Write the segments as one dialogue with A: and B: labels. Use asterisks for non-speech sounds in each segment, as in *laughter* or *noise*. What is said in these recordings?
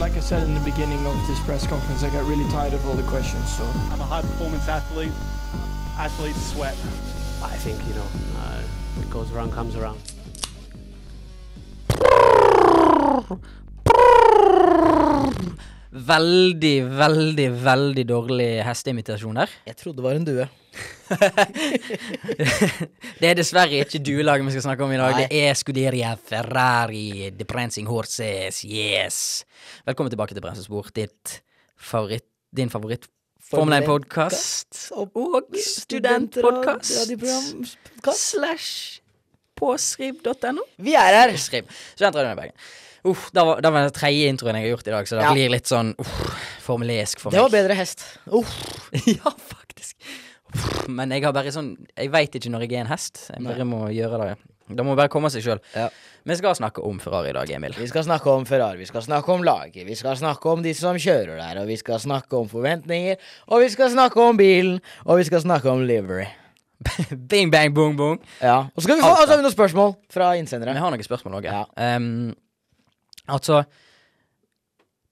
A: I said in the beginning of this press conference, I got really tired of all the questions. So
B: I'm a high performance athlete. Athletes sweat.
C: I think, you know, uh, what goes around comes around.
D: Veldig, veldig, veldig dårlig hesteimitasjon der.
E: Jeg trodde det var en due.
D: *laughs* Det er dessverre ikke duelaget vi skal snakke om i dag.
E: Nei.
D: Det er Scuderia Ferrari, The Prancing Horses, yes. Velkommen tilbake til Bremsespor, ditt favoritt, din favoritt Formel 1-podkast
E: og-
D: og studentpodkast
E: Studentradioprogram.
D: slash påskriv.no.
E: Vi er her!
D: Skriv. Studentradioen i Bergen. Uff, da var, da var den tredje introen jeg har gjort i dag, så det
E: Ja.
D: blir litt sånn uff, formulesk for
E: Det
D: meg.
E: var bedre hest. Oh, Uff.
D: *laughs* ja, faktisk. Uff, Men jeg har bare sånn Jeg veit ikke når jeg er en hest. Jeg bare må gjøre det. Det må bare komme seg sjøl.
E: Ja.
D: Vi skal snakke om Ferrari i dag, Emil.
E: Vi skal snakke om Ferrari, vi skal snakke om laget, vi skal snakke om de som kjører der, og vi skal snakke om forventninger, og vi skal snakke om bilen, og vi skal snakke om livery.
D: *laughs* Bing, bang, boom, boom.
E: Ja. Og så skal vi få, og så har vi noen spørsmål fra
D: Men
E: innsendere.
D: jeg har noen spørsmål òg.
E: Ja.
D: altså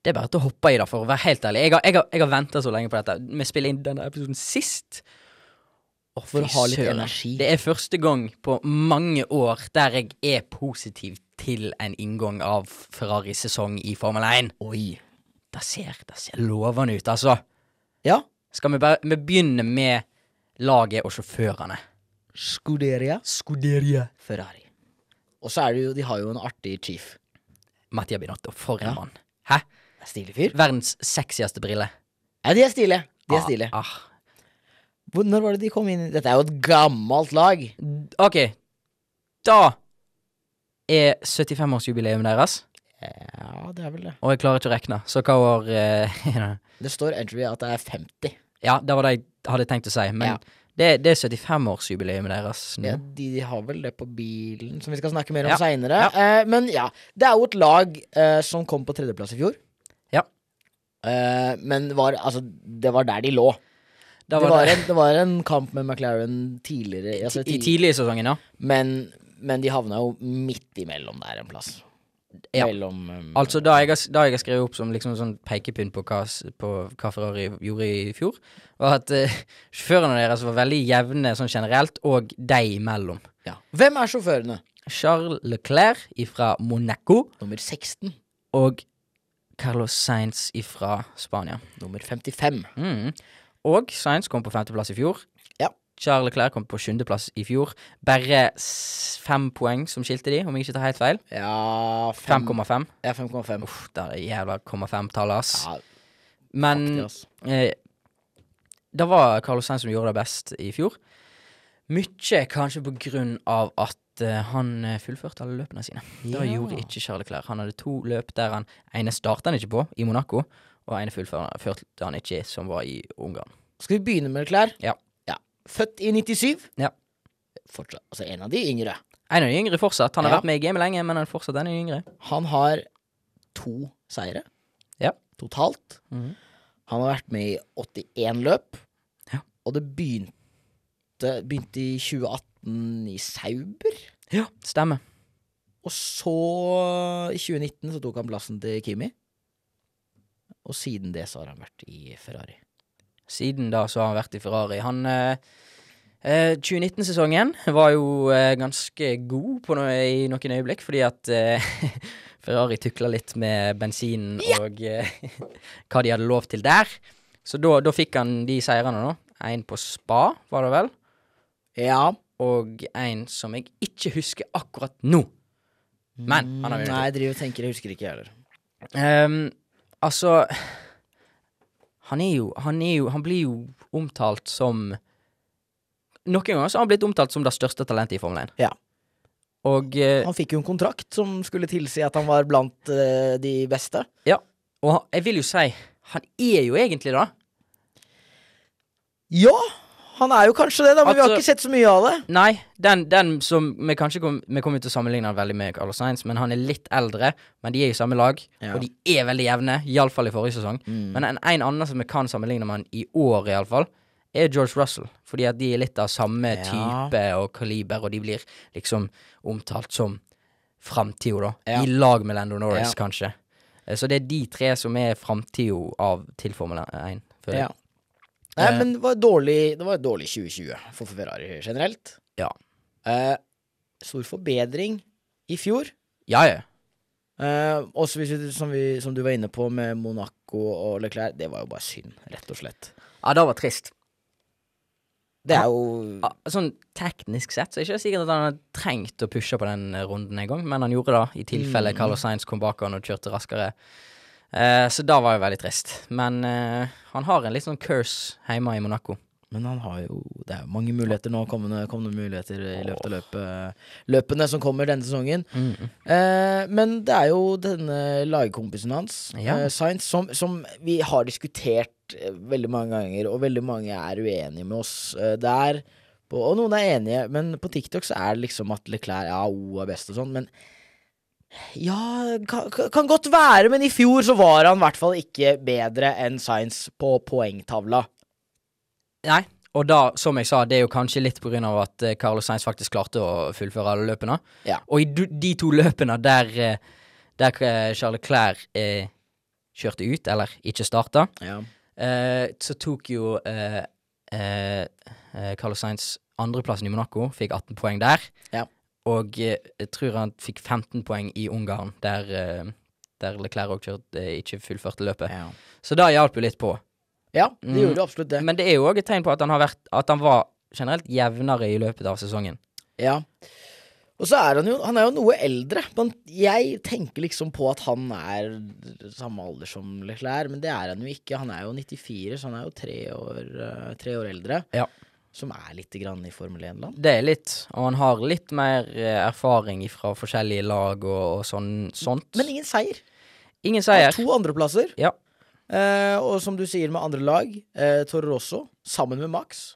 D: Det er bare til å hoppe i det, for å være helt ærlig. Jeg har, jeg har, jeg har venta så lenge på dette. Vi spiller inn denne episoden sist. Å,
E: For å
D: fy
E: ha litt
D: søren.
E: energi.
D: Det er første gang på mange år der jeg er positiv til en inngang av Ferraris sesong i Formel 1.
E: Oi.
D: Det ser, det ser lovende ut, altså.
E: Ja.
D: Skal vi bare vi begynne med laget og sjåførene?
E: Scuderia
D: Scuderia.
E: Ferrari. Og så er det jo, de har jo en artig chief.
D: Mattia Binotto, for en
E: Ja.
D: mann. Hæ?
E: Det er Stilig fyr.
D: Verdens sexieste brille.
E: Ja, de er stilige. De er stilige.
D: Ah, ah.
E: Hvor- Når var det de kom inn i Dette er jo et gammelt lag.
D: Ok, da er 75-årsjubileum deres,
E: Ja, det er vel det.
D: og jeg klarer ikke å rekne, så hva år eh, *laughs* er det?
E: Det står entry at det er 50.
D: Ja, det var det jeg hadde tenkt å si, men
E: Ja.
D: det, det er 75-årsjubileum deres nå.
E: Ja, de, de har vel det på bilen, som vi skal snakke mer om
D: Mm. Ja.
E: seinere. Eh, men ja, det er jo et lag eh, som kom på tredjeplass i fjor.
D: Ja.
E: Eh, men var, altså, det var der de lå.
D: Da
E: det,
D: var
E: var
D: det-
E: En, det var en kamp med McLaren tidligere, altså, Mm.
D: I
E: tidlig-
D: tidlig i sesongen, ja.
E: men, men de havna jo midt imellom der en plass.
D: Ja.
E: Mellom um,
D: Altså, da jeg, har- da jeg har skrevet opp som liksom sånn pekepinn på hva, s- på hva Ferrari gjorde i fjor, var at eh, *laughs* sjåførene deres var veldig jevne sånn generelt, og deg imellom.
E: ja. Hvem er sjåførene?
D: Charles Leclerc fra Monaco
E: Nummer 16.
D: og Carlos Sainz fra Spania.
E: Nummer 55.
D: Mm. Og Sainz kom på femteplass i fjor.
E: Ja.
D: Charles Leclerc kom på sjuendeplass i fjor. Bare s- fem poeng som skilte de, om jeg ikke tar helt feil.
E: Ja fem-
D: 5,5.
E: Ja, 5,5.
D: Uff, det er jævla 5,5-tallet, ass.
E: Ja,
D: Men
E: faktisk, ass.
D: Eh, det var Carlos Sainz som gjorde det best i fjor. Mykje kanskje på grunn av at eh, han eh, fullførte alle løpene sine. Det
E: Ja.
D: gjorde ikke Charles Leclerc. Han hadde to løp der han ene starta han ikke på, i Monaco, og ene fullførte han ikke, som var i Ungarn.
E: Skal vi begynne med klær?
D: Ja.
E: Født i 97.
D: Ja.
E: Fortsatt, altså en av de yngre.
D: En av de yngre fortsatt. Han har
E: Ja.
D: vært med i gamet lenge, men han er fortsatt en av de yngre.
E: Han har to seire
D: Ja.
E: totalt.
D: Mhm.
E: Han har vært med i 81 løp.
D: Ja.
E: Og det begynte, begynte i 2018 i Sauber.
D: Ja, Stemmer.
E: Og så, i 2019, så tok han plassen til Kimi. Og siden det så har han vært i Ferrari.
D: Siden da så har han vært i Ferrari. Han eh, eh, 2019-sesongen var jo eh, ganske god på noe, i noen øyeblikk, fordi at eh, *laughs* Ferrari tukla litt med bensinen og eh, *laughs* hva de hadde lov til der. Så da, da fikk han de seirene nå. En på spa, var det vel,
E: Ja.
D: og en som jeg ikke husker akkurat nå. Men han har
E: Mm. Nei,
D: vunnet.
E: jeg driver og tenker, jeg husker ikke jeg heller.
D: Ehm, altså han er, jo, han er jo Han blir jo omtalt som Noen ganger så har han blitt omtalt som det største talentet i Formel 1.
E: Ja.
D: Og, eh,
E: Han fikk jo en kontrakt som skulle tilsi at han var blant eh, de beste.
D: og han- jeg vil jo si han er jo egentlig det.
E: Ja, han er jo kanskje det, da, men vi har
D: Altså-
E: ikke sett så mye av det.
D: Nei, den, den som vi kanskje kom, vi kommer til å sammenligne han veldig med Carlos Sainz, men han er litt eldre. Men de er i samme lag,
E: Ja. Mm.
D: og de er veldig jevne. Iallfall i forrige sesong. Men en, en annen som vi kan sammenligne med han i år, iallfall, er George Russell. Fordi at de er litt av samme
E: Ja.
D: type og kaliber, og de blir liksom omtalt som framtida, da.
E: Ja.
D: I lag med Lando Norris,
E: Ja.
D: kanskje. Eh, Så det er de tre som er framtida av til Formel 1. føler jeg.
E: Ja. Nei,
D: Eh.
E: men det var, dårlig, det var et dårlig 2020 for Ferrari generelt.
D: Ja.
E: Eh, stor forbedring i fjor.
D: ja, ja.
E: Eh, også hvis vi, som, vi, som du var inne på med Monaco og Leclerc. Det var jo bare synd, rett og slett.
D: Ja, det var trist.
E: Det er jo
D: Ja, sånn teknisk sett så er det ikke sikkert at han hadde trengt å pushe på den eh, runden en gang, men han gjorde det, i tilfelle Carlos Sainz kom bak han og kjørte raskere. Eh, så da var jo veldig trist. Men eh, han har en litt sånn curse hjemme i Monaco.
E: Men han har jo Det er jo mange muligheter nå, kommende, kommende muligheter i løpet av løpet, løpene som kommer denne sesongen. Eh, men det er jo denne lagkompisen hans,
D: Ja.
E: eh, Sainz, som, som vi har diskutert eh, veldig mange ganger, og veldig mange er uenige med oss eh, der. På, og noen er enige, men på TikTok så er det liksom at Leclerc ja, O er best og sånn, men ja, kan, kan godt være, men i fjor så var han i hvert fall ikke bedre enn Sainz på poengtavla.
D: Nei, og da, som jeg sa, det er jo kanskje litt på grunn av at eh, Carlos Sainz faktisk klarte å fullføre alle løpene.
E: Ja.
D: Og i du- de to løpene der, eh, der eh, Charles Clair eh, kjørte ut, eller ikke starta,
E: Ja.
D: eh, så tok jo eh, eh, eh, Carlos Sainz andreplassen i Monaco, fikk 18 poeng der.
E: Ja.
D: Og eh, jeg tror han fikk 15 poeng i Ungarn, der, eh, der Leclerc òg kjørte, eh, ikke fullførte løpet.
E: ja.
D: Så da hjalp jo litt på.
E: Ja, det
D: Mm.
E: gjorde absolutt det.
D: Men det er jo òg et tegn på at han, har vært, at han var generelt jevnere i løpet av sesongen.
E: Ja. Og så er han jo Han er jo noe eldre. Men jeg tenker liksom på at han er samme alder som Leclerc, men det er han jo ikke. Han er jo 94, så han er jo tre år, eh, tre år eldre.
D: Ja.
E: Som er lite grann i Formel 1-land.
D: Det er litt, og han har litt mer eh, erfaring fra forskjellige lag og, og sånn, sånt.
E: Men ingen seier.
D: ingen
E: Han har
D: seier.
E: To andreplasser.
D: Ja.
E: Eh, og som du sier med andre lag, eh, Toro Rosso sammen med Max.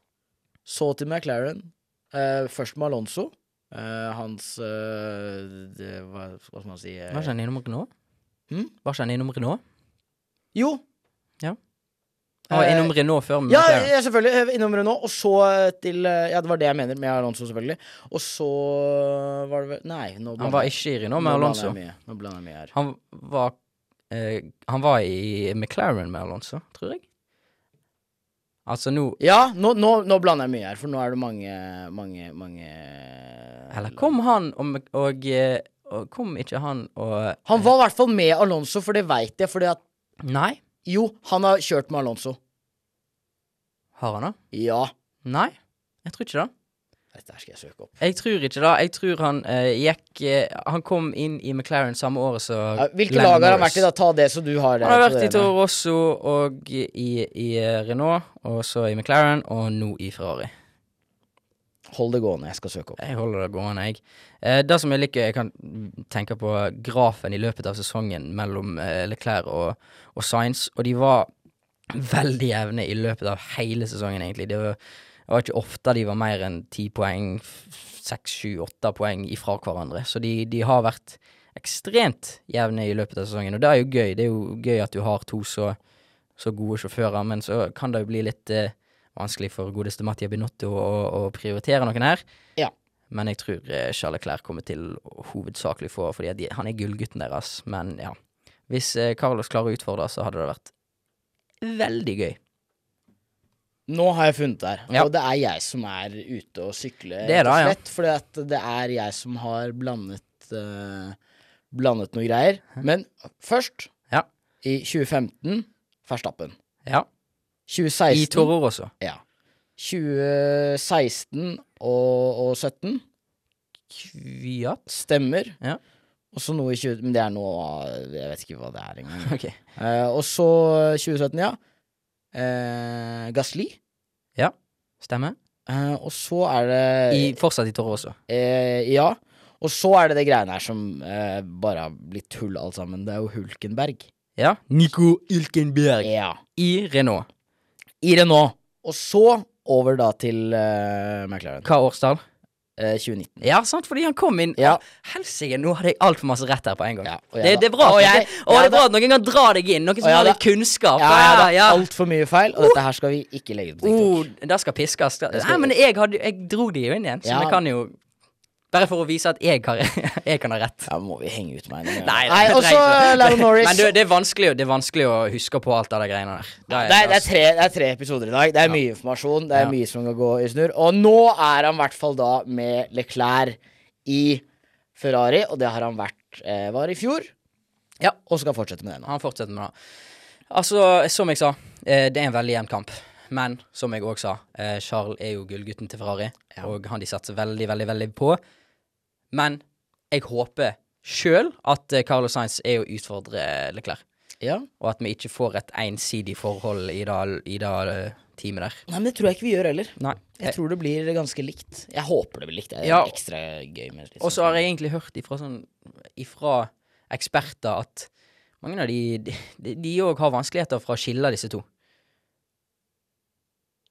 E: Så til McLaren. Eh, først med Alonso. Eh, hans eh, det, hva, hva skal man si eh,
D: Var ikke han innom Renault?
E: Hm?
D: Var ikke han innom Renault?
E: Jo.
D: Ja. Han var
E: Eh,
D: innom Renault før. med
E: ja,
D: McLaren.
E: ja, selvfølgelig. eh, Innom Renault. Og så eh, til eh, Ja, det var det jeg mener med Alonso, selvfølgelig. Og så eh, var det vel Nei, nå
D: han var ikke i Renault med
E: nå
D: Alonso.
E: blander jeg mye. Nå blander jeg mye her.
D: Han var, eh, han var i McLaren med Alonso, tror jeg. Altså nå
E: Ja, nå, nå, nå blander jeg mye her, for nå er det mange, mange, mange eh,
D: Eller kom han og, Mc- og, eh, og Kom ikke han og
E: Han var i hvert fall med Alonso, for det veit jeg. Fordi at
D: Nei.
E: Jo, han har kjørt med Alonso.
D: Har han det?
E: Ja.
D: Nei. Jeg tror ikke det.
E: Dette her skal jeg søke opp.
D: Jeg tror ikke det. Jeg tror han eh, gikk eh, Han kom inn i McLaren samme året som
E: Ja, Hvilke
D: Lennon
E: lag har han
D: Norris.
E: vært i, da? Ta det som du har der.
D: Han har
E: på
D: vært
E: det
D: i
E: ene.
D: Toro Rosso og i, i eh, Renault, og så i McLaren, og nå i Ferrari.
E: Hold det gående, jeg skal søke opp.
D: Jeg holder det gående, jeg. Eh, det som jeg liker, jeg kan tenke på grafen i løpet av sesongen mellom eh, Leclerc og, og Sainz, og de var veldig jevne i løpet av hele sesongen, egentlig. Det var, det var ikke ofte de var mer enn ti poeng, f- seks, sju, åtte poeng ifra hverandre. Så de, de har vært ekstremt jevne i løpet av sesongen, og det er jo gøy. Det er jo gøy at du har to så, så gode sjåfører, men så kan det jo bli litt eh, vanskelig for godeste Mattia Binotto å, å prioritere noen her. Men jeg tror eh, Charles Leclerc kommer til å hovedsakelig få, fordi at de, han er gullgutten deres. Men ja, hvis eh, Carlos klarer å utfordre, så hadde det vært veldig gøy.
E: Nå har jeg funnet det her,
D: Ja.
E: og det er jeg som er ute og sykler.
D: Det er da, ja.
E: Fordi at det er jeg som har blandet eh, Blandet noe greier. Men først,
D: Ja.
E: i 2015, Verstappen.
D: Ja.
E: 2016
D: I Toro også.
E: Ja. 2016 og, og 17
D: Kviat?
E: stemmer.
D: Ja.
E: Og så noe i 20... Men det er noe av- Jeg vet ikke hva det er
D: *laughs*
E: engang.
D: Ok.
E: Eh, og så 2017, ja. Uh, Gasli.
D: Stemmer.
E: Eh, og så er det
D: I, fortsatt i Toro også.
E: Eh, ja. Og så er det det greiene her som eh, bare har blitt tull alt sammen. Det er jo Hulkenberg.
D: Ja. Nico Ilkenberg.
E: Ja.
D: I Renault.
E: I Renault. Og så over da til eh, McLaren.
D: Hva årstall?
E: Eh, 2019.
D: Ja, sant, fordi han kom inn
E: Ja.
D: Helsike, nå hadde jeg altfor masse rett her på en gang.
E: Ja, og jeg
D: det,
E: da-
D: det er bra at
E: og
D: noen-
E: jeg-
D: å, det
E: jeg
D: er bra at noen kan dra deg inn. Noen som
E: jeg
D: har
E: da-
D: litt kunnskap.
E: Ja, ja, det
D: Ja,
E: er
D: ja. Uh.
E: altfor mye feil, og dette her skal vi ikke legge ut på TikTok.
D: Oh, det skal piskes.
E: skal-
D: Nei, men jeg, hadde, jeg dro de jo inn igjen, så
E: Ja.
D: vi kan jo Bare for å vise at jeg, har, *laughs* jeg kan ha rett.
E: Ja, må vi henge ut meg?
D: Nei, det
E: Nei
D: trenger
E: og så eh,
D: ikke.
E: Lando Norris.
D: Men du, det er, vanskelig, å- det er vanskelig å huske på alt det der greiene der. Det
E: det, er, det, er tre, det er tre episoder i dag. Det er mye informasjon. Det
D: Ja.
E: er mye som kan gå i snurr. Og nå er han i hvert fall da med Leclerc i Ferrari, og det har han vært eh, var i fjor.
D: Ja.
E: Og skal fortsette med det nå.
D: Han fortsetter med det. Altså, som jeg sa, eh, det er en veldig jevn kamp. Men som jeg òg sa, eh, Charles er jo gullgutten til Ferrari, og han de satser veldig, veldig, veldig på. Men jeg håper sjøl at eh, Carlos Sainz er å utfordre Leclerc,
E: Ja.
D: og at vi ikke får et ensidig forhold i det, i det eh, teamet der.
E: Nei, men det tror jeg ikke vi gjør heller.
D: Nei.
E: Jeg tror det blir ganske likt. Jeg håper det blir likt. Det er
D: Ja.
E: ekstra gøy med litt
D: Og så
E: sånn-
D: har jeg egentlig hørt ifra, sånn, ifra eksperter at mange av de De de òg har vanskeligheter for å skille disse to.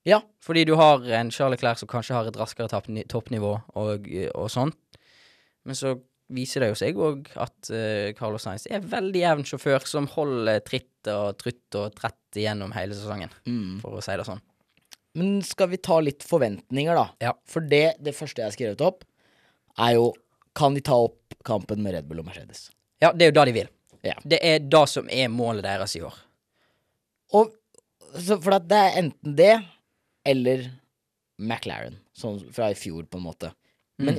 E: Ja.
D: Fordi du har en Charles Leclerc som kanskje har et raskere tapp- toppnivå og, og sånn. Men så viser det jo seg òg at eh, Carlos Sainz er en veldig jevn sjåfør som holder tritt og trutt og trett gjennom hele sesongen,
E: Mm.
D: for å si det sånn.
E: Men skal vi ta litt forventninger, da?
D: Ja.
E: For det, det første jeg har skrevet opp, er jo Kan de ta opp kampen med Red Bull og Mercedes?
D: Ja, det er jo det de vil.
E: Ja.
D: Det er det som er målet deres i år.
E: Og, så, for at det er enten det eller McLaren, sånn fra i fjor, på en måte. Men,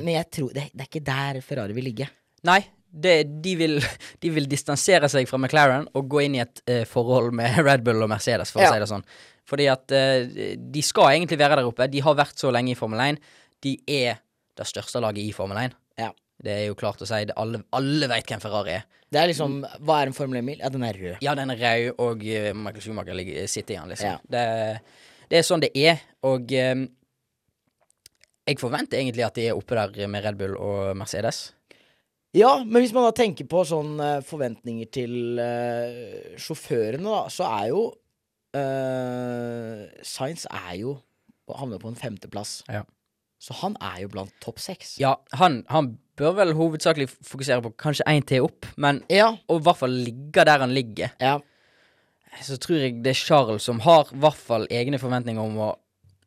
D: Mm.
E: men jeg tror det, det er ikke der Ferrari vil ligge.
D: Nei, det, de, vil, *laughs* de vil distansere seg fra McLaren og gå inn i et eh, forhold med *laughs* Red Bull og Mercedes, for
E: Ja.
D: å si det sånn. Fordi at eh, de skal egentlig være der oppe. De har vært så lenge i Formel 1. De er det største laget i Formel 1.
E: Ja.
D: Det er jo klart å si. Det, alle alle veit hvem Ferrari er.
E: Det er liksom Hva er en Formel 1-bil? Ja, den er rød.
D: Ja, den er rød, og eh, Michael Schumacher ligger, sitter i han, liksom.
E: Ja.
D: Det, det er sånn det er, og eh, jeg forventer egentlig at de er oppe der med Red Bull og Mercedes.
E: Ja, men hvis man da tenker på sånn eh, forventninger til eh, sjåførene, da, så er jo uh, Science er jo Havner på en femteplass.
D: Ja.
E: Så han er jo blant topp seks.
D: Ja, han, han bør vel hovedsakelig f- fokusere på kanskje én til opp, men
E: ja.
D: og i hvert fall ligge der han ligger.
E: ja.
D: Så tror jeg det er Charles som har i hvert fall egne forventninger om å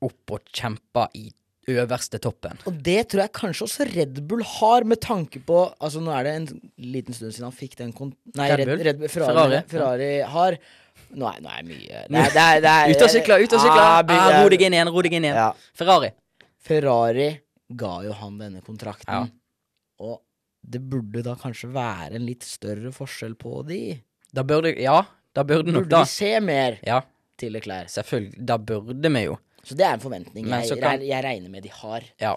D: opp og kjempe i øverste toppen.
E: Og det tror jeg kanskje også Red Bull har, med tanke på Altså Nå er det en liten stund siden han fikk den kon... Nei,
D: Red
E: Red
D: Bull?
E: Red, Ferrari,
D: Ferrari,
E: Ferrari,
D: ja.
E: har Nå er, nå er jeg mye det er, det er, det er,
D: Ut og sykle, ut og sykle!
E: Ja, by-
D: Ah, ro deg inn igjen, ro deg inn *laughs* igjen.
E: Ja.
D: Ferrari.
E: Ferrari ga jo han denne kontrakten.
D: Ja.
E: Og det burde da kanskje være en litt større forskjell på de.
D: Da burde Ja, da burde nok
E: Burde
D: da.
E: vi se mer
D: Ja,
E: til Leclerc.
D: selvfølgelig. Da burde vi jo.
E: Så det er en forventning
D: Men
E: jeg,
D: så kan-
E: jeg, jeg regner med de har.
D: Ja.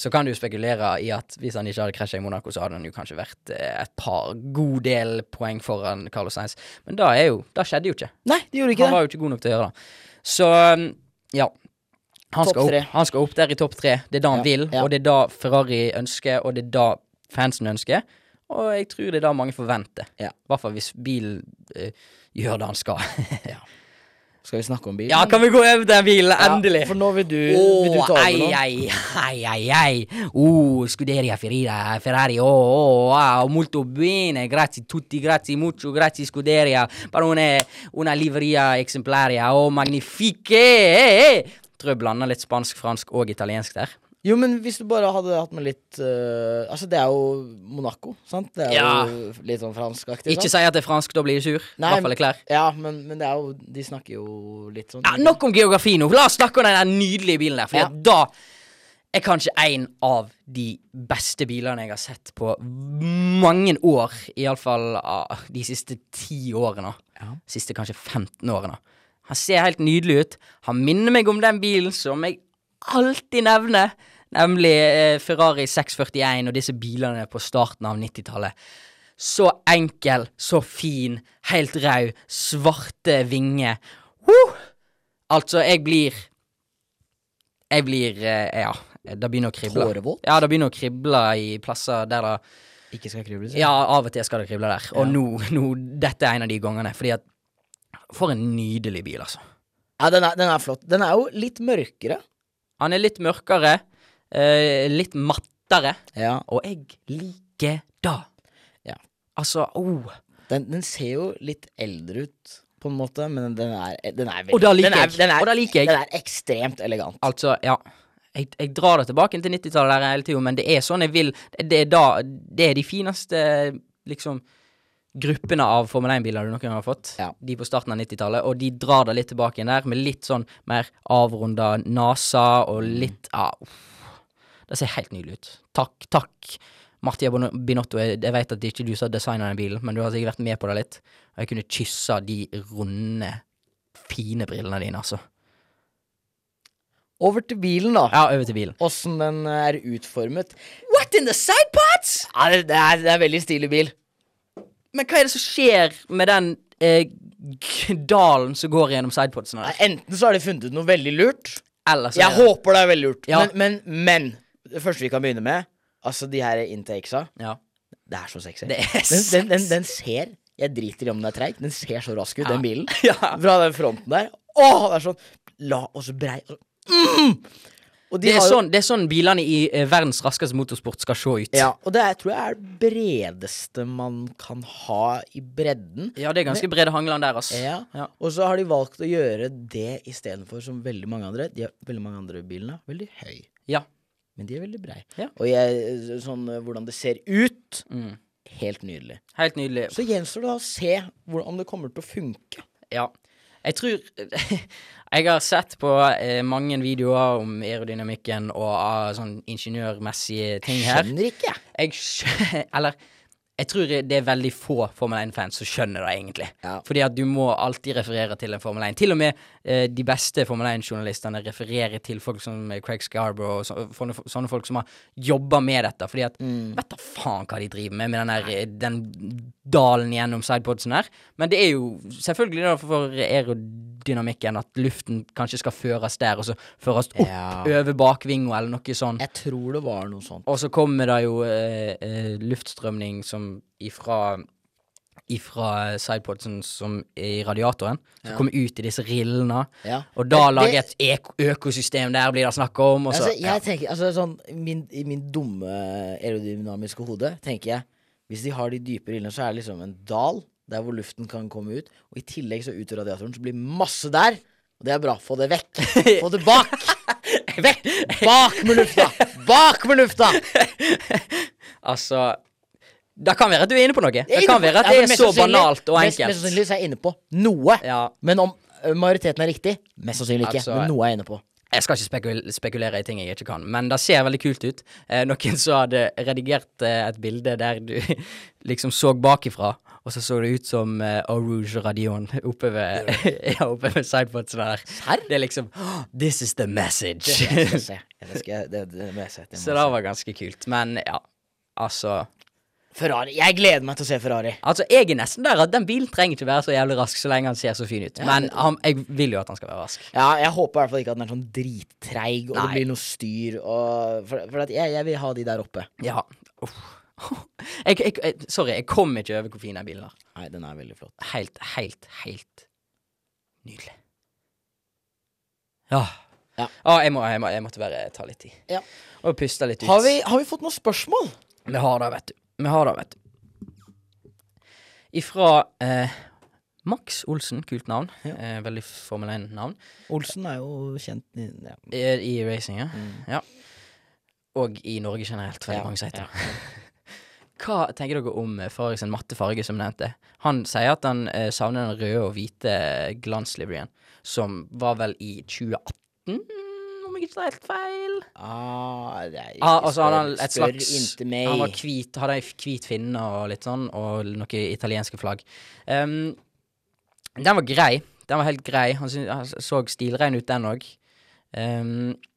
D: Så kan du spekulere i at hvis han ikke hadde krasja i Monaco, så hadde han jo kanskje vært eh, et par god del poeng foran Carlos Sainz. Men da er jo Da skjedde jo ikke.
E: Nei, de gjorde ikke
D: han
E: det.
D: var jo ikke god nok til å gjøre det. Så um, ja. Han
E: Topp
D: skal,
E: tre.
D: opp, han skal opp der i topp tre. Det er det han
E: Ja,
D: vil,
E: ja.
D: og det er det Ferrari ønsker, og det er det fansen ønsker. Og jeg tror det er det mange forventer.
E: Ja.
D: I hvert fall hvis bilen eh, gjør det han skal. *laughs*
E: Skal vi snakke om bil?
D: ja, kan vi gå over den bilen,
E: Ja,
D: endelig?
E: For nå vil du,
D: Å,
E: vil du ta over
D: ai,
E: nå.
D: ai, ai, ai, ai. Oh, scuderia Ferrari, Ferrari, oh, oh, ah, molto bene, grazie tutti, grazie mucho, grazie scuderia, per una, una livrea exemplaria, oh, magnifiche, eh, eh. Tror jeg blander litt spansk, fransk og italiensk der.
E: Jo, men hvis du bare hadde hatt med litt øh, Altså, det er jo Monaco, sant? Det er
D: Ja.
E: jo litt sånn franskaktig.
D: Ikke
E: sant?
D: si at det er fransk, da blir du sur. I
E: Nei,
D: hvert fall klær.
E: Ja, men, men det er jo De snakker jo litt sånn
D: Ja, nok om geografi nå, la oss snakke om den der nydelige bilen der, for
E: Ja.
D: da er kanskje en av de beste bilene jeg har sett på mange år. Iallfall ah, de siste ti årene. Siste kanskje 15 årene. Han ser helt nydelig ut. Han minner meg om den bilen som jeg alltid nevner. Nemlig eh, Ferrari 641 og disse bilene på starten av 90-tallet. Så enkel, så fin, helt rød, svarte vinger. Woo! Altså, jeg blir Jeg blir eh, Ja, det begynner å krible.
E: Tårevåt?
D: Ja, det begynner å krible i plasser der det
E: Ikke skal krible
D: Ja, av og til skal det krible der. Og nå, nå Dette er en av de gangene. Fordi at For en nydelig bil, altså.
E: ja den, er, den er flott. Den er jo litt mørkere.
D: Han er litt mørkere, eh, litt mattere,
E: Ja.
D: og jeg liker det.
E: Ja.
D: Altså, oh.
E: Den, den ser jo litt eldre ut, på en måte, men den er, den er veldig
D: Og da liker
E: den er,
D: jeg.
E: Den er,
D: Og da liker jeg.
E: Den er ekstremt elegant.
D: Altså, ja. jeg, jeg drar det tilbake til 90-tallet der hele tida, men det er sånn jeg vil. Det er, da, det er de fineste liksom gruppene av Formel 1-biler du noen gang har fått.
E: Ja.
D: De på starten av 90-tallet, og de drar det litt tilbake igjen der, med litt sånn mer avrunda NASA og litt ah, uff. Det ser helt nydelig ut. Takk, takk. Martia Bono- Binotto, jeg, jeg vet at det ikke du som har designa den bilen, men du har sikkert vært med på det litt. Og jeg kunne kyssa de runde, fine brillene dine, altså.
E: Over til bilen, da.
D: Ja, over til bilen.
E: Åssen den er utformet.
D: What in the side pots?
E: Ja, det, det, er, det er veldig stilig bil.
D: Men hva er det som skjer med den eh, g- dalen som går gjennom sidepodsene
E: Nei,
D: der?
E: Enten så har de funnet ut noe veldig lurt.
D: Eller så
E: Jeg
D: er det-
E: håper det er veldig lurt.
D: Altså, Ja.
E: Men, men, men det første vi kan begynne med, altså de her intakesa,
D: Ja.
E: det er så sexy.
D: Det er
E: den, den, den, den ser Jeg driter i om den er treig, den ser så rask ut, den bilen.
D: *laughs* ja.
E: Fra den fronten der. Åh, det er sånn La og så brei og så, mm! Og de
D: Det er,
E: har jo-
D: sånn, det er sånn bilene i eh, verdens raskeste motorsport skal se ut.
E: Ja, og det er, tror jeg er det bredeste man kan ha i bredden.
D: Ja, det er ganske brede hangland der, ass.
E: Ja.
D: Ja.
E: Og så har de valgt å gjøre det istedenfor som veldig mange andre. De har, veldig mange andre bilene er veldig høy,
D: Ja.
E: men de er veldig brei.
D: Ja.
E: Og jeg, sånn eh, hvordan det ser ut
D: Mm.
E: Helt nydelig.
D: Helt nydelig.
E: Så gjenstår det da å se hvor- om det kommer til å funke.
D: Ja. Jeg tror *laughs* Jeg har sett på eh, mange videoer om aerodynamikken og ah, sånn ingeniørmessige ting her.
E: Skjønner ikke, jeg.
D: Jeg skjønner *laughs* Eller jeg tror det er veldig få Formel 1-fans som skjønner det, egentlig.
E: Ja.
D: Fordi at du må alltid referere til en Formel 1. Til og med eh, de beste Formel 1-journalistene refererer til folk som eh, Craig Scarborough og så, sånne, sånne folk som har jobba med dette. Fordi at
E: Mm.
D: Vet da faen hva de driver med, med den, der, eh, den dalen gjennom sidepodsen her. Men det er jo selvfølgelig da for aerodynamikken at luften kanskje skal føres der, og så føres opp
E: Ja.
D: over bakvinga eller noe sånn.
E: Jeg tror det var noe sånt.
D: Og så kommer det jo eh, eh, luftstrømning som ifra Ifra sidepodsen som er i radiatoren, som kommer ut i disse rillene.
E: Ja.
D: Og da
E: Det-
D: lage et ek- økosystem der, blir det snakk om. Og så,
E: Altså, jeg tenker, altså, sånn, min, I min dumme aerodynamiske hode tenker jeg hvis de har de dype rillene, så er det liksom en dal der hvor luften kan komme ut. Og i tillegg så ut i radiatoren, så blir masse der. Og det er bra. Få det vekk. Få
D: *laughs*
E: det bak. Vekk. Bak med lufta. Bak med lufta.
D: ja. altså Det kan være at du er inne på noe. Det
E: Jeg er inne på-
D: kan være at
E: Ja,
D: det
E: men
D: er
E: mest
D: så
E: sannsynlig-
D: banalt og
E: Mest, mest
D: enkelt.
E: sannsynlig så er jeg inne på noe.
D: Ja.
E: Men om ø, majoriteten er riktig, mest sannsynlig ikke.
D: Altså,
E: men noe er jeg inne på.
D: Jeg skal ikke spekul spekulere i ting jeg ikke kan, men det ser veldig kult ut. Eh, noen som hadde redigert eh, et bilde der du *laughs* liksom så bakifra, og så så det ut som eh, Eau Rouge Radion *laughs* oppe ved, *laughs* ja, oppe ved sidepodsen der.
E: Serr?
D: Det er liksom «Åh, This is the message.
E: Jeg skal se. Det skal jeg- det- det må jeg se. Det
D: *laughs*
E: må
D: så
E: jeg
D: det
E: se.
D: var ganske kult. Men ja, altså
E: Ferrari. Jeg gleder meg til å se Ferrari.
D: Altså, Jeg er nesten der at den bilen trenger ikke være så jævlig rask så lenge han ser så fin ut. Men han, jeg vil jo at han skal være rask.
E: Ja, jeg håper i hvert fall ikke at den er sånn drittreig, og
D: Nei.
E: det blir noe styr. Og, for for at jeg, jeg vil ha de der oppe.
D: Ja. Uff. *laughs* Jeg, jeg, jeg, sorry, jeg kom ikke over hvor fin den bilen er.
E: Nei, den er veldig flott.
D: helt, helt, helt nydelig. Ja.
E: Ja.
D: Ah, jeg, må, jeg, må, jeg måtte bare ta litt tid.
E: Ja.
D: Og puste litt ut.
E: Har vi, har vi fått noen spørsmål?
D: Vi har det, vet du. Vi har det, vet du. Ifra eh, Max Olsen, kult navn.
E: Ja.
D: Eh, veldig Formel 1-navn.
E: Olsen er jo kjent i- ja.
D: I, i racing, ja. ja. Og i Norge generelt, veldig
E: Mm. Ja,
D: mange sier det. *laughs* Hva tenker dere om eh, Ferrari sin matte farge, som nevnte? Han sier at han eh, savner den røde og hvite glansliveryen, som var vel i 2018, om jeg ikke tar helt feil?
E: Ah, det er ikke
D: Ah, altså, han hadde
E: spør,
D: et slags
E: inntil meg.
D: Han var hvit, hadde ei hvit finne og litt sånn, og noen italienske flagg. Ehm, den var grei. Den var helt grei. Han, syn- han så stilrein ut, den Ehm, òg.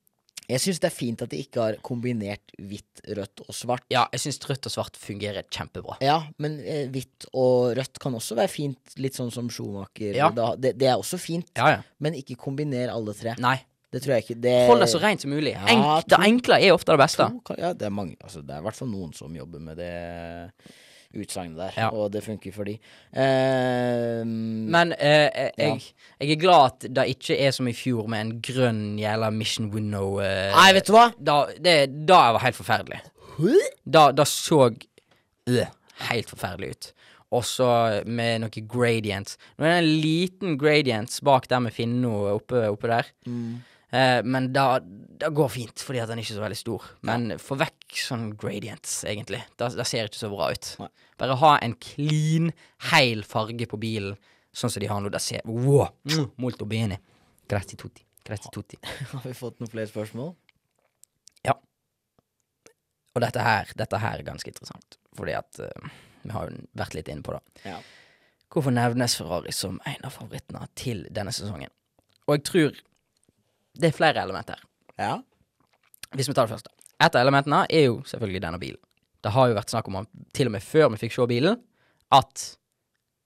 E: Jeg syns det er fint at de ikke har kombinert hvitt, rødt og svart.
D: Ja, jeg syns rødt og svart fungerer kjempebra.
E: Ja, men eh, hvitt og rødt kan også være fint, litt sånn som Schumacher.
D: Ja.
E: Da, det, det er også fint,
D: Ja, ja.
E: men ikke kombiner alle tre.
D: Nei.
E: Det tror jeg ikke. Det,
D: Hold det så rent som mulig.
E: Ja,
D: Enk, det
E: to-
D: enkle er ofte det beste.
E: To, kan- ja, det er mange altså, Det er i hvert fall noen som jobber med det utsagnet der,
D: Ja.
E: og det funker for de. Ehm,
D: Men eh, eh,
E: Ja.
D: jeg, jeg er glad at det ikke er som i fjor, med en grønn jævla Mission Winnow. eh,
E: nei, vet du hva?
D: da, det, da var helt forferdelig. Da, da så øh, helt forferdelig ut. Og så med noe
E: Mm.
D: gradients. Nå er det en liten gradients bak der med finna oppe, oppe der. Eh, men da, da går fint, fordi at den ikke er så veldig stor. Men få vekk sånn gradients, egentlig. Da, da ser det ikke så bra ut.
E: Nei.
D: Bare ha en clean, heil farge på bilen, sånn som de har nå. Da ser Wow! Mm, Molto bene. Grazie tutti. Grazie tutti.
E: *laughs* Har vi fått noen flere spørsmål?
D: Og dette her, dette her er ganske interessant, fordi at eh, vi har jo vært litt inne på det.
E: Ja.
D: Hvorfor nevnes Ferrari som en av favorittene til denne sesongen? Og jeg tror det er flere elementer her.
E: Ja.
D: Hvis vi tar det første. Et av elementene er jo selvfølgelig denne bilen. Det har jo vært snakk om, han, til og med før vi fikk se bilen, at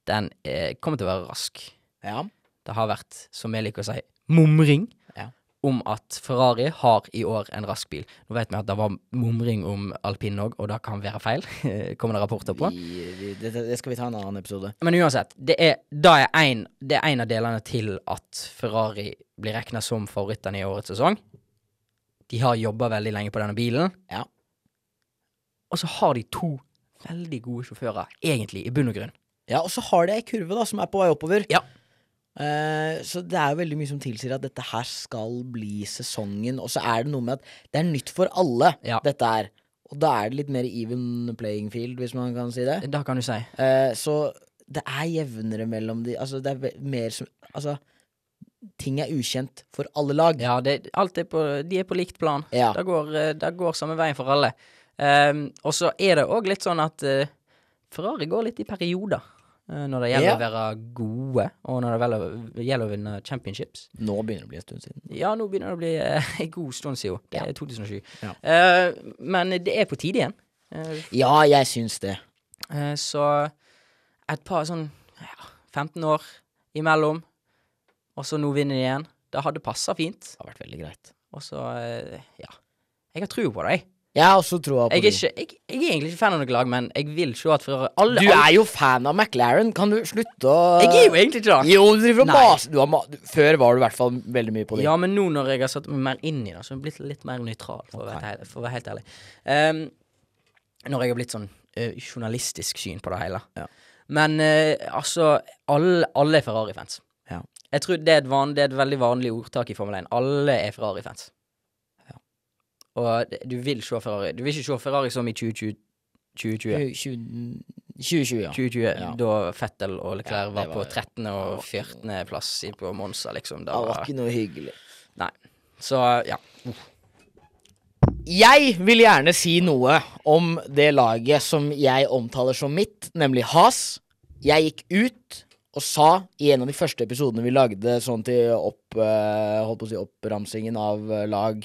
D: den eh, kommer til å være rask.
E: ja.
D: Det har vært, som jeg liker å si, mumring
E: Ja.
D: om at Ferrari har i år en rask bil. Nå vet vi at det var mumring om alpin òg, og det kan være feil. *laughs* kommer det rapporter på.
E: Vi, vi, det, det skal vi ta en annen episode.
D: Men uansett, det er, da er en, det er en av delene til at Ferrari blir regna som favorittene i årets sesong. De har jobba veldig lenge på denne bilen.
E: Ja.
D: Og så har de to veldig gode sjåfører, egentlig, i bunn og grunn.
E: Ja, Og så har de ei kurve da, som er på vei oppover.
D: Ja.
E: Eh, så det er jo veldig mye som tilsier at dette her skal bli sesongen. Og så er det noe med at det er nytt for alle,
D: Ja.
E: dette her. Og da er det litt mer even playing field, hvis man kan si det.
D: Da kan du si.
E: Eh, så det er jevnere mellom de Altså, det er ve- mer som Altså, ting er ukjent for alle lag.
D: Ja, det, alt er på, de er på likt plan.
E: Ja.
D: Det går, eh, det går samme veien for alle. Ehm, og så er det òg litt sånn at eh, Ferrari går litt i perioder. eh, Når det gjelder
E: Ja.
D: å være gode, og når det vel- gjelder å vinne championships.
E: Nå begynner det å bli en stund siden.
D: Ja, nå begynner det å bli eh, *laughs* en god stund siden. Det er 2007.
E: Ja.
D: Eh, men det er på tide igjen. Eh,
E: Ja, jeg syns det.
D: eh, så et par sånn ja, 15 år imellom, og så nå vinner de igjen. Det hadde passa fint.
E: Det har vært veldig greit.
D: Og så eh, ja. Jeg har tro på det, jeg.
E: Jeg har også troa på
D: Jeg er,
E: det.
D: ikke, jeg, jeg er egentlig ikke fan av noe lag, men jeg vil se at Ferrari alle,
E: Du
D: alle,
E: er jo fan av McLaren. Kan du slutte å
D: Jeg er jo egentlig ikke det.
E: Jo, du driver og
D: Nei.
E: maser. Du har ma du- Før var du i hvert fall veldig mye på det.
D: Ja, men nå når jeg har satt meg mer inn i det, så har jeg blitt litt mer nøytral, for, å, være, helt- for å være helt ærlig. Ehm, når jeg har blitt sånn eh, journalistisk syn på det hele.
E: Ja.
D: Men eh, altså, alle, alle er Ferrari-fans.
E: Ja.
D: Jeg tror det er, et van, det er et veldig vanlig ordtak i Formel 1. Alle er Ferrari-fans. Og det- du vil se Ferrari. Du vil ikke se Ferrari som i 2020. 2020.
E: 2020, 2020 ja.
D: 2020,
E: Ja.
D: Da Fettel og
E: Ja,
D: Leclerc
E: det
D: var,
E: var-
D: på 13. og 14. plass i- på Monza, liksom. Da
E: Det var
D: var,
E: ikke noe hyggelig.
D: så ja.
E: Jeg vil gjerne si noe om det laget som jeg omtaler som mitt, nemlig Has. Jeg gikk ut og sa i en av de første episodene vi lagde sånn til opp, eh, holdt på å si oppramsingen av eh, lag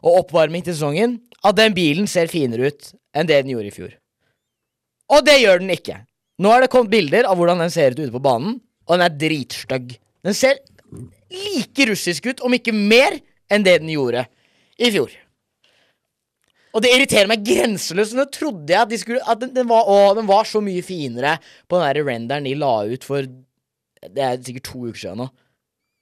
E: og oppvarming til sesongen, at den bilen ser finere ut enn det den gjorde i fjor. Og det gjør den ikke. Nå er det kommet bilder av hvordan den ser ut ute på banen, og den er dritstygg. Den ser like russisk ut, om ikke mer, enn det den gjorde i fjor. Og det irriterer meg grenseløst. Nå trodde jeg at, de skulle, at den, den, var, å, den var så mye finere på den der renderen de la ut for Det er sikkert to uker siden nå.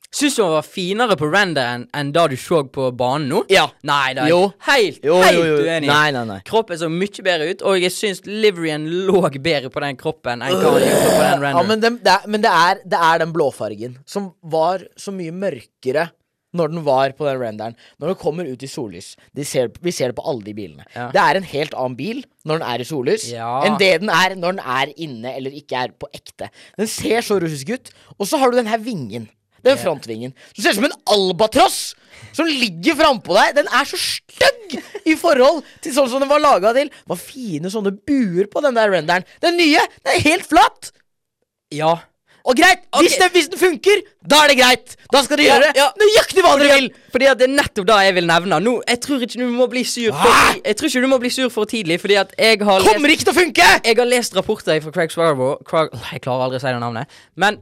D: Syns du han var finere på renderen enn da du så på banen nå?
E: Ja.
D: Nei, det er
E: Jo.
D: jeg helt,
E: Jo,
D: helt
E: jo, jo.
D: uenig.
E: Nei, nei, nei.
D: Kroppen så mye bedre ut, og jeg syns liveryen lå bedre på den kroppen enn hva han gjorde på den
E: Ja,
D: renderen.
E: men dem- det, er, men det, er, det er den blåfargen som var så mye mørkere når den var på den renderen. Når den kommer ut i sollys. De ser, vi ser det på alle de bilene.
D: Ja.
E: Det er en helt annen bil når den er i sollys,
D: Ja.
E: enn det den er når den er inne eller ikke er på ekte. Den ser så russisk ut. Og så har du den her vingen. Den frontvingen. Du ser ut som en albatross som ligger frampå deg. Den er så stygg i forhold til sånn som den var laga til. Det var fine sånne buer på den der renderen. Den nye, den er helt flatt.
D: Ja.
E: Og greit, hvis,
D: Ok.
E: den, hvis den funker, da er det greit. Da skal dere
D: Ja,
E: gjøre
D: ja.
E: nøyaktig hva dere vil.
D: Fordi at det er nettopp det jeg vil nevne. Nå, jeg tror ikke du må bli sur for,
E: Hva?
D: jeg tror ikke du må bli sur for tidlig, fordi at jeg har lest
E: Kommer ikke til å funke!
D: jeg har lest rapporter fra Craig Swarrow Craig, Jeg klarer aldri å si det navnet. Men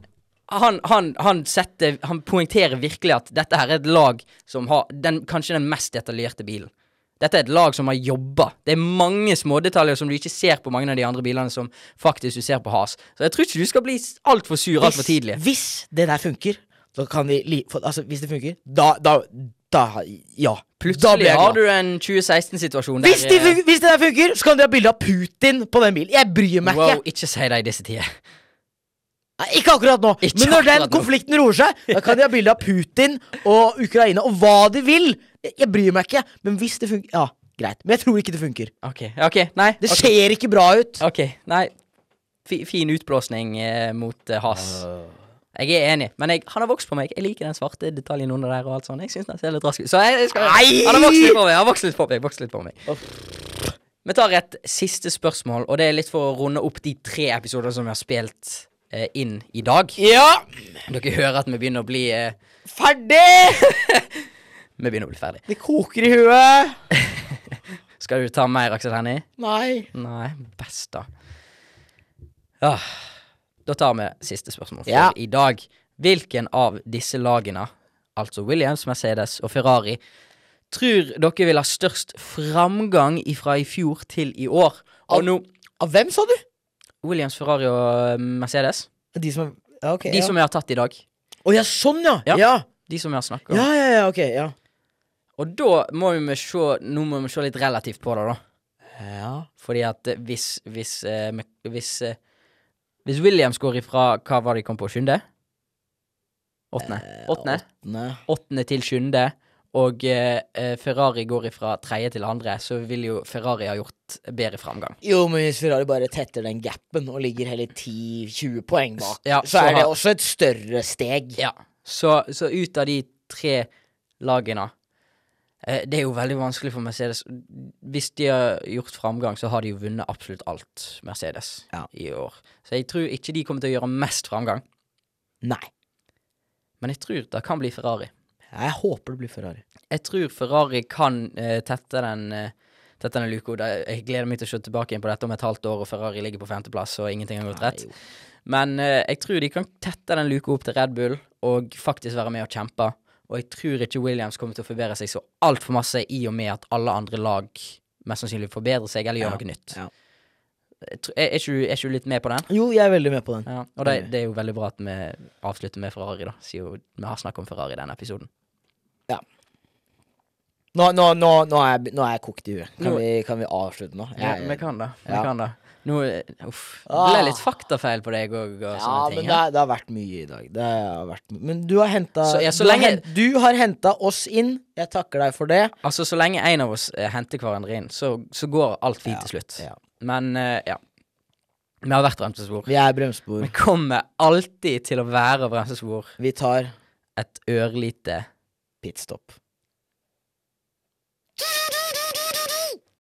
D: han, han, han, setter, han poengterer virkelig at dette her er et lag som har den, kanskje den mest detaljerte bilen. Dette er et lag som har jobba. Det er mange smådetaljer som du ikke ser på mange av de andre bilene som faktisk du ser på Has. Så jeg tror ikke du skal bli altfor sur altfor tidlig.
E: hvis det der funker, så kan vi li for, Altså, hvis det funker, da, da, da Ja. da blir
D: Plutselig
E: jeg
D: har
E: glad.
D: du en 2016-situasjon der
E: Hvis,
D: eh,
E: det fun- hvis det der funker, så kan dere ha bilde av Putin på den bilen. Jeg bryr meg
D: Wow,
E: ikke.
D: ikke si det i disse tider.
E: Nei, ikke akkurat nå,
D: Ikke
E: men når den
D: akkurat nå.
E: konflikten roer seg, da kan de ha bilde av Putin og Ukraina og hva de vil. Jeg, jeg bryr meg ikke, men hvis det funker Ja, greit. Men jeg tror ikke det funker.
D: OK. ok, Nei.
E: Det
D: ok.
E: ser ikke bra ut.
D: OK. Nei. Fi- Fin utblåsning eh, mot eh, Has.
E: Ah.
D: Jeg er enig, men jeg, han har vokst på meg. Jeg liker den svarte detaljen under der. og alt sånt Jeg synes den ser litt rask ut. Så jeg, jeg skal,
E: Nei!
D: han har vokst litt på meg. Han har vokst litt på meg, vokst litt på meg. Vi tar et siste spørsmål, og det er litt for å runde opp de tre episodene som vi har spilt eh, inn i dag.
E: Ja,
D: Dere hører at vi begynner å bli eh,
E: ferdig!
D: *laughs* Vi begynner å bli ferdig.
E: Det koker i huet.
D: Skal du ta mer, Aksel Hennie?
E: Nei.
D: Nei, best, da. Ja. Da tar vi siste spørsmål for
E: Ja.
D: i dag. Hvilken av disse lagene, altså Williams, Mercedes og Ferrari, tror dere vil ha størst framgang fra i fjor til i år? Og
E: Al-
D: nå
E: Av hvem, sa du?
D: Williams, Ferrari og eh, Mercedes.
E: De som ja, ok,
D: De
E: ja.
D: som vi har tatt i dag.
E: Å ja, sånn, ja.
D: Ja.
E: Ja. Ja.
D: De som vi har snakka om.
E: ja! ja, ja, ok, ja.
D: Og da må vi se Nå må vi se litt relativt på det, da.
E: Ja.
D: Fordi at eh, hvis Hvis, eh, Mc- hvis, eh, hvis Williams går ifra Hva var det de kom på? Sjuende? Åttende. Åttende.
E: Nei.
D: Åttende til sjuende. Og eh, eh, Ferrari går ifra tredje til andre, så vil jo Ferrari ha gjort bedre framgang.
E: Jo, men hvis Ferrari bare tetter den gapen og ligger hele 10-20 poeng bak,
D: Ja,
E: så
D: så
E: er det
D: har-
E: også et større steg.
D: Ja. Så, så ut av de tre lagene eh, Det er jo veldig vanskelig for Mercedes. Hvis de har gjort framgang, så har de jo vunnet absolutt alt Mercedes
E: Ja.
D: i år. Så jeg tror ikke de kommer til å gjøre mest framgang.
E: Nei.
D: Men jeg tror det kan bli Ferrari.
E: Jeg håper det blir Ferrari.
D: Jeg tror Ferrari kan eh, tette den eh, Tette den luka. Det- Jeg gleder meg til å se tilbake inn på dette om et halvt år, og Ferrari ligger på femteplass, og ingenting har gått rett.
E: Nei, jo.
D: Men eh, jeg tror de kan tette den luka opp til Red Bull, og faktisk være med og kjempe. Og jeg tror ikke Williams kommer til å forbedre seg så altfor masse, i og med at alle andre lag mest sannsynlig forbedrer seg eller gjør
E: Ja,
D: noe nytt.
E: ja.
D: Jeg tror- Er, er, ikke, du- er ikke du litt med på den?
E: Jo, jeg er veldig med på den.
D: Ja, og det,
E: Enig.
D: det er jo veldig bra at vi avslutter med Ferrari, da, siden jo- vi har snakket om Ferrari i denne episoden.
E: Nå, nå, nå, nå, er, jeg, be- nå er jeg kokt i huet. Kan,
D: Nå-
E: vi, kan vi avslutte nå?
D: Ja,
E: Jeg-
D: vi kan det. Vi
E: ja.
D: kan det. Nå eh, Uff. Det
E: Ah.
D: ble litt faktafeil på deg og, og
E: ja,
D: sånne
E: men
D: ting.
E: det,
D: ja.
E: er- det har vært mye i dag. Det har vært, mye. men du har henta
D: Så- ja, så
E: du, har
D: lenge-
E: hen- du har henta oss inn. Jeg takker deg for det.
D: Altså, så lenge en av oss eh, henter hverandre inn, så, så går alt fint
E: Ja,
D: til slutt.
E: ja.
D: Men eh, ja. Vi har vært bremsespor.
E: Vi er bremsespor.
D: Vi kommer alltid til å være bremsespor
E: Vi tar
D: et ørlite
E: pitstop.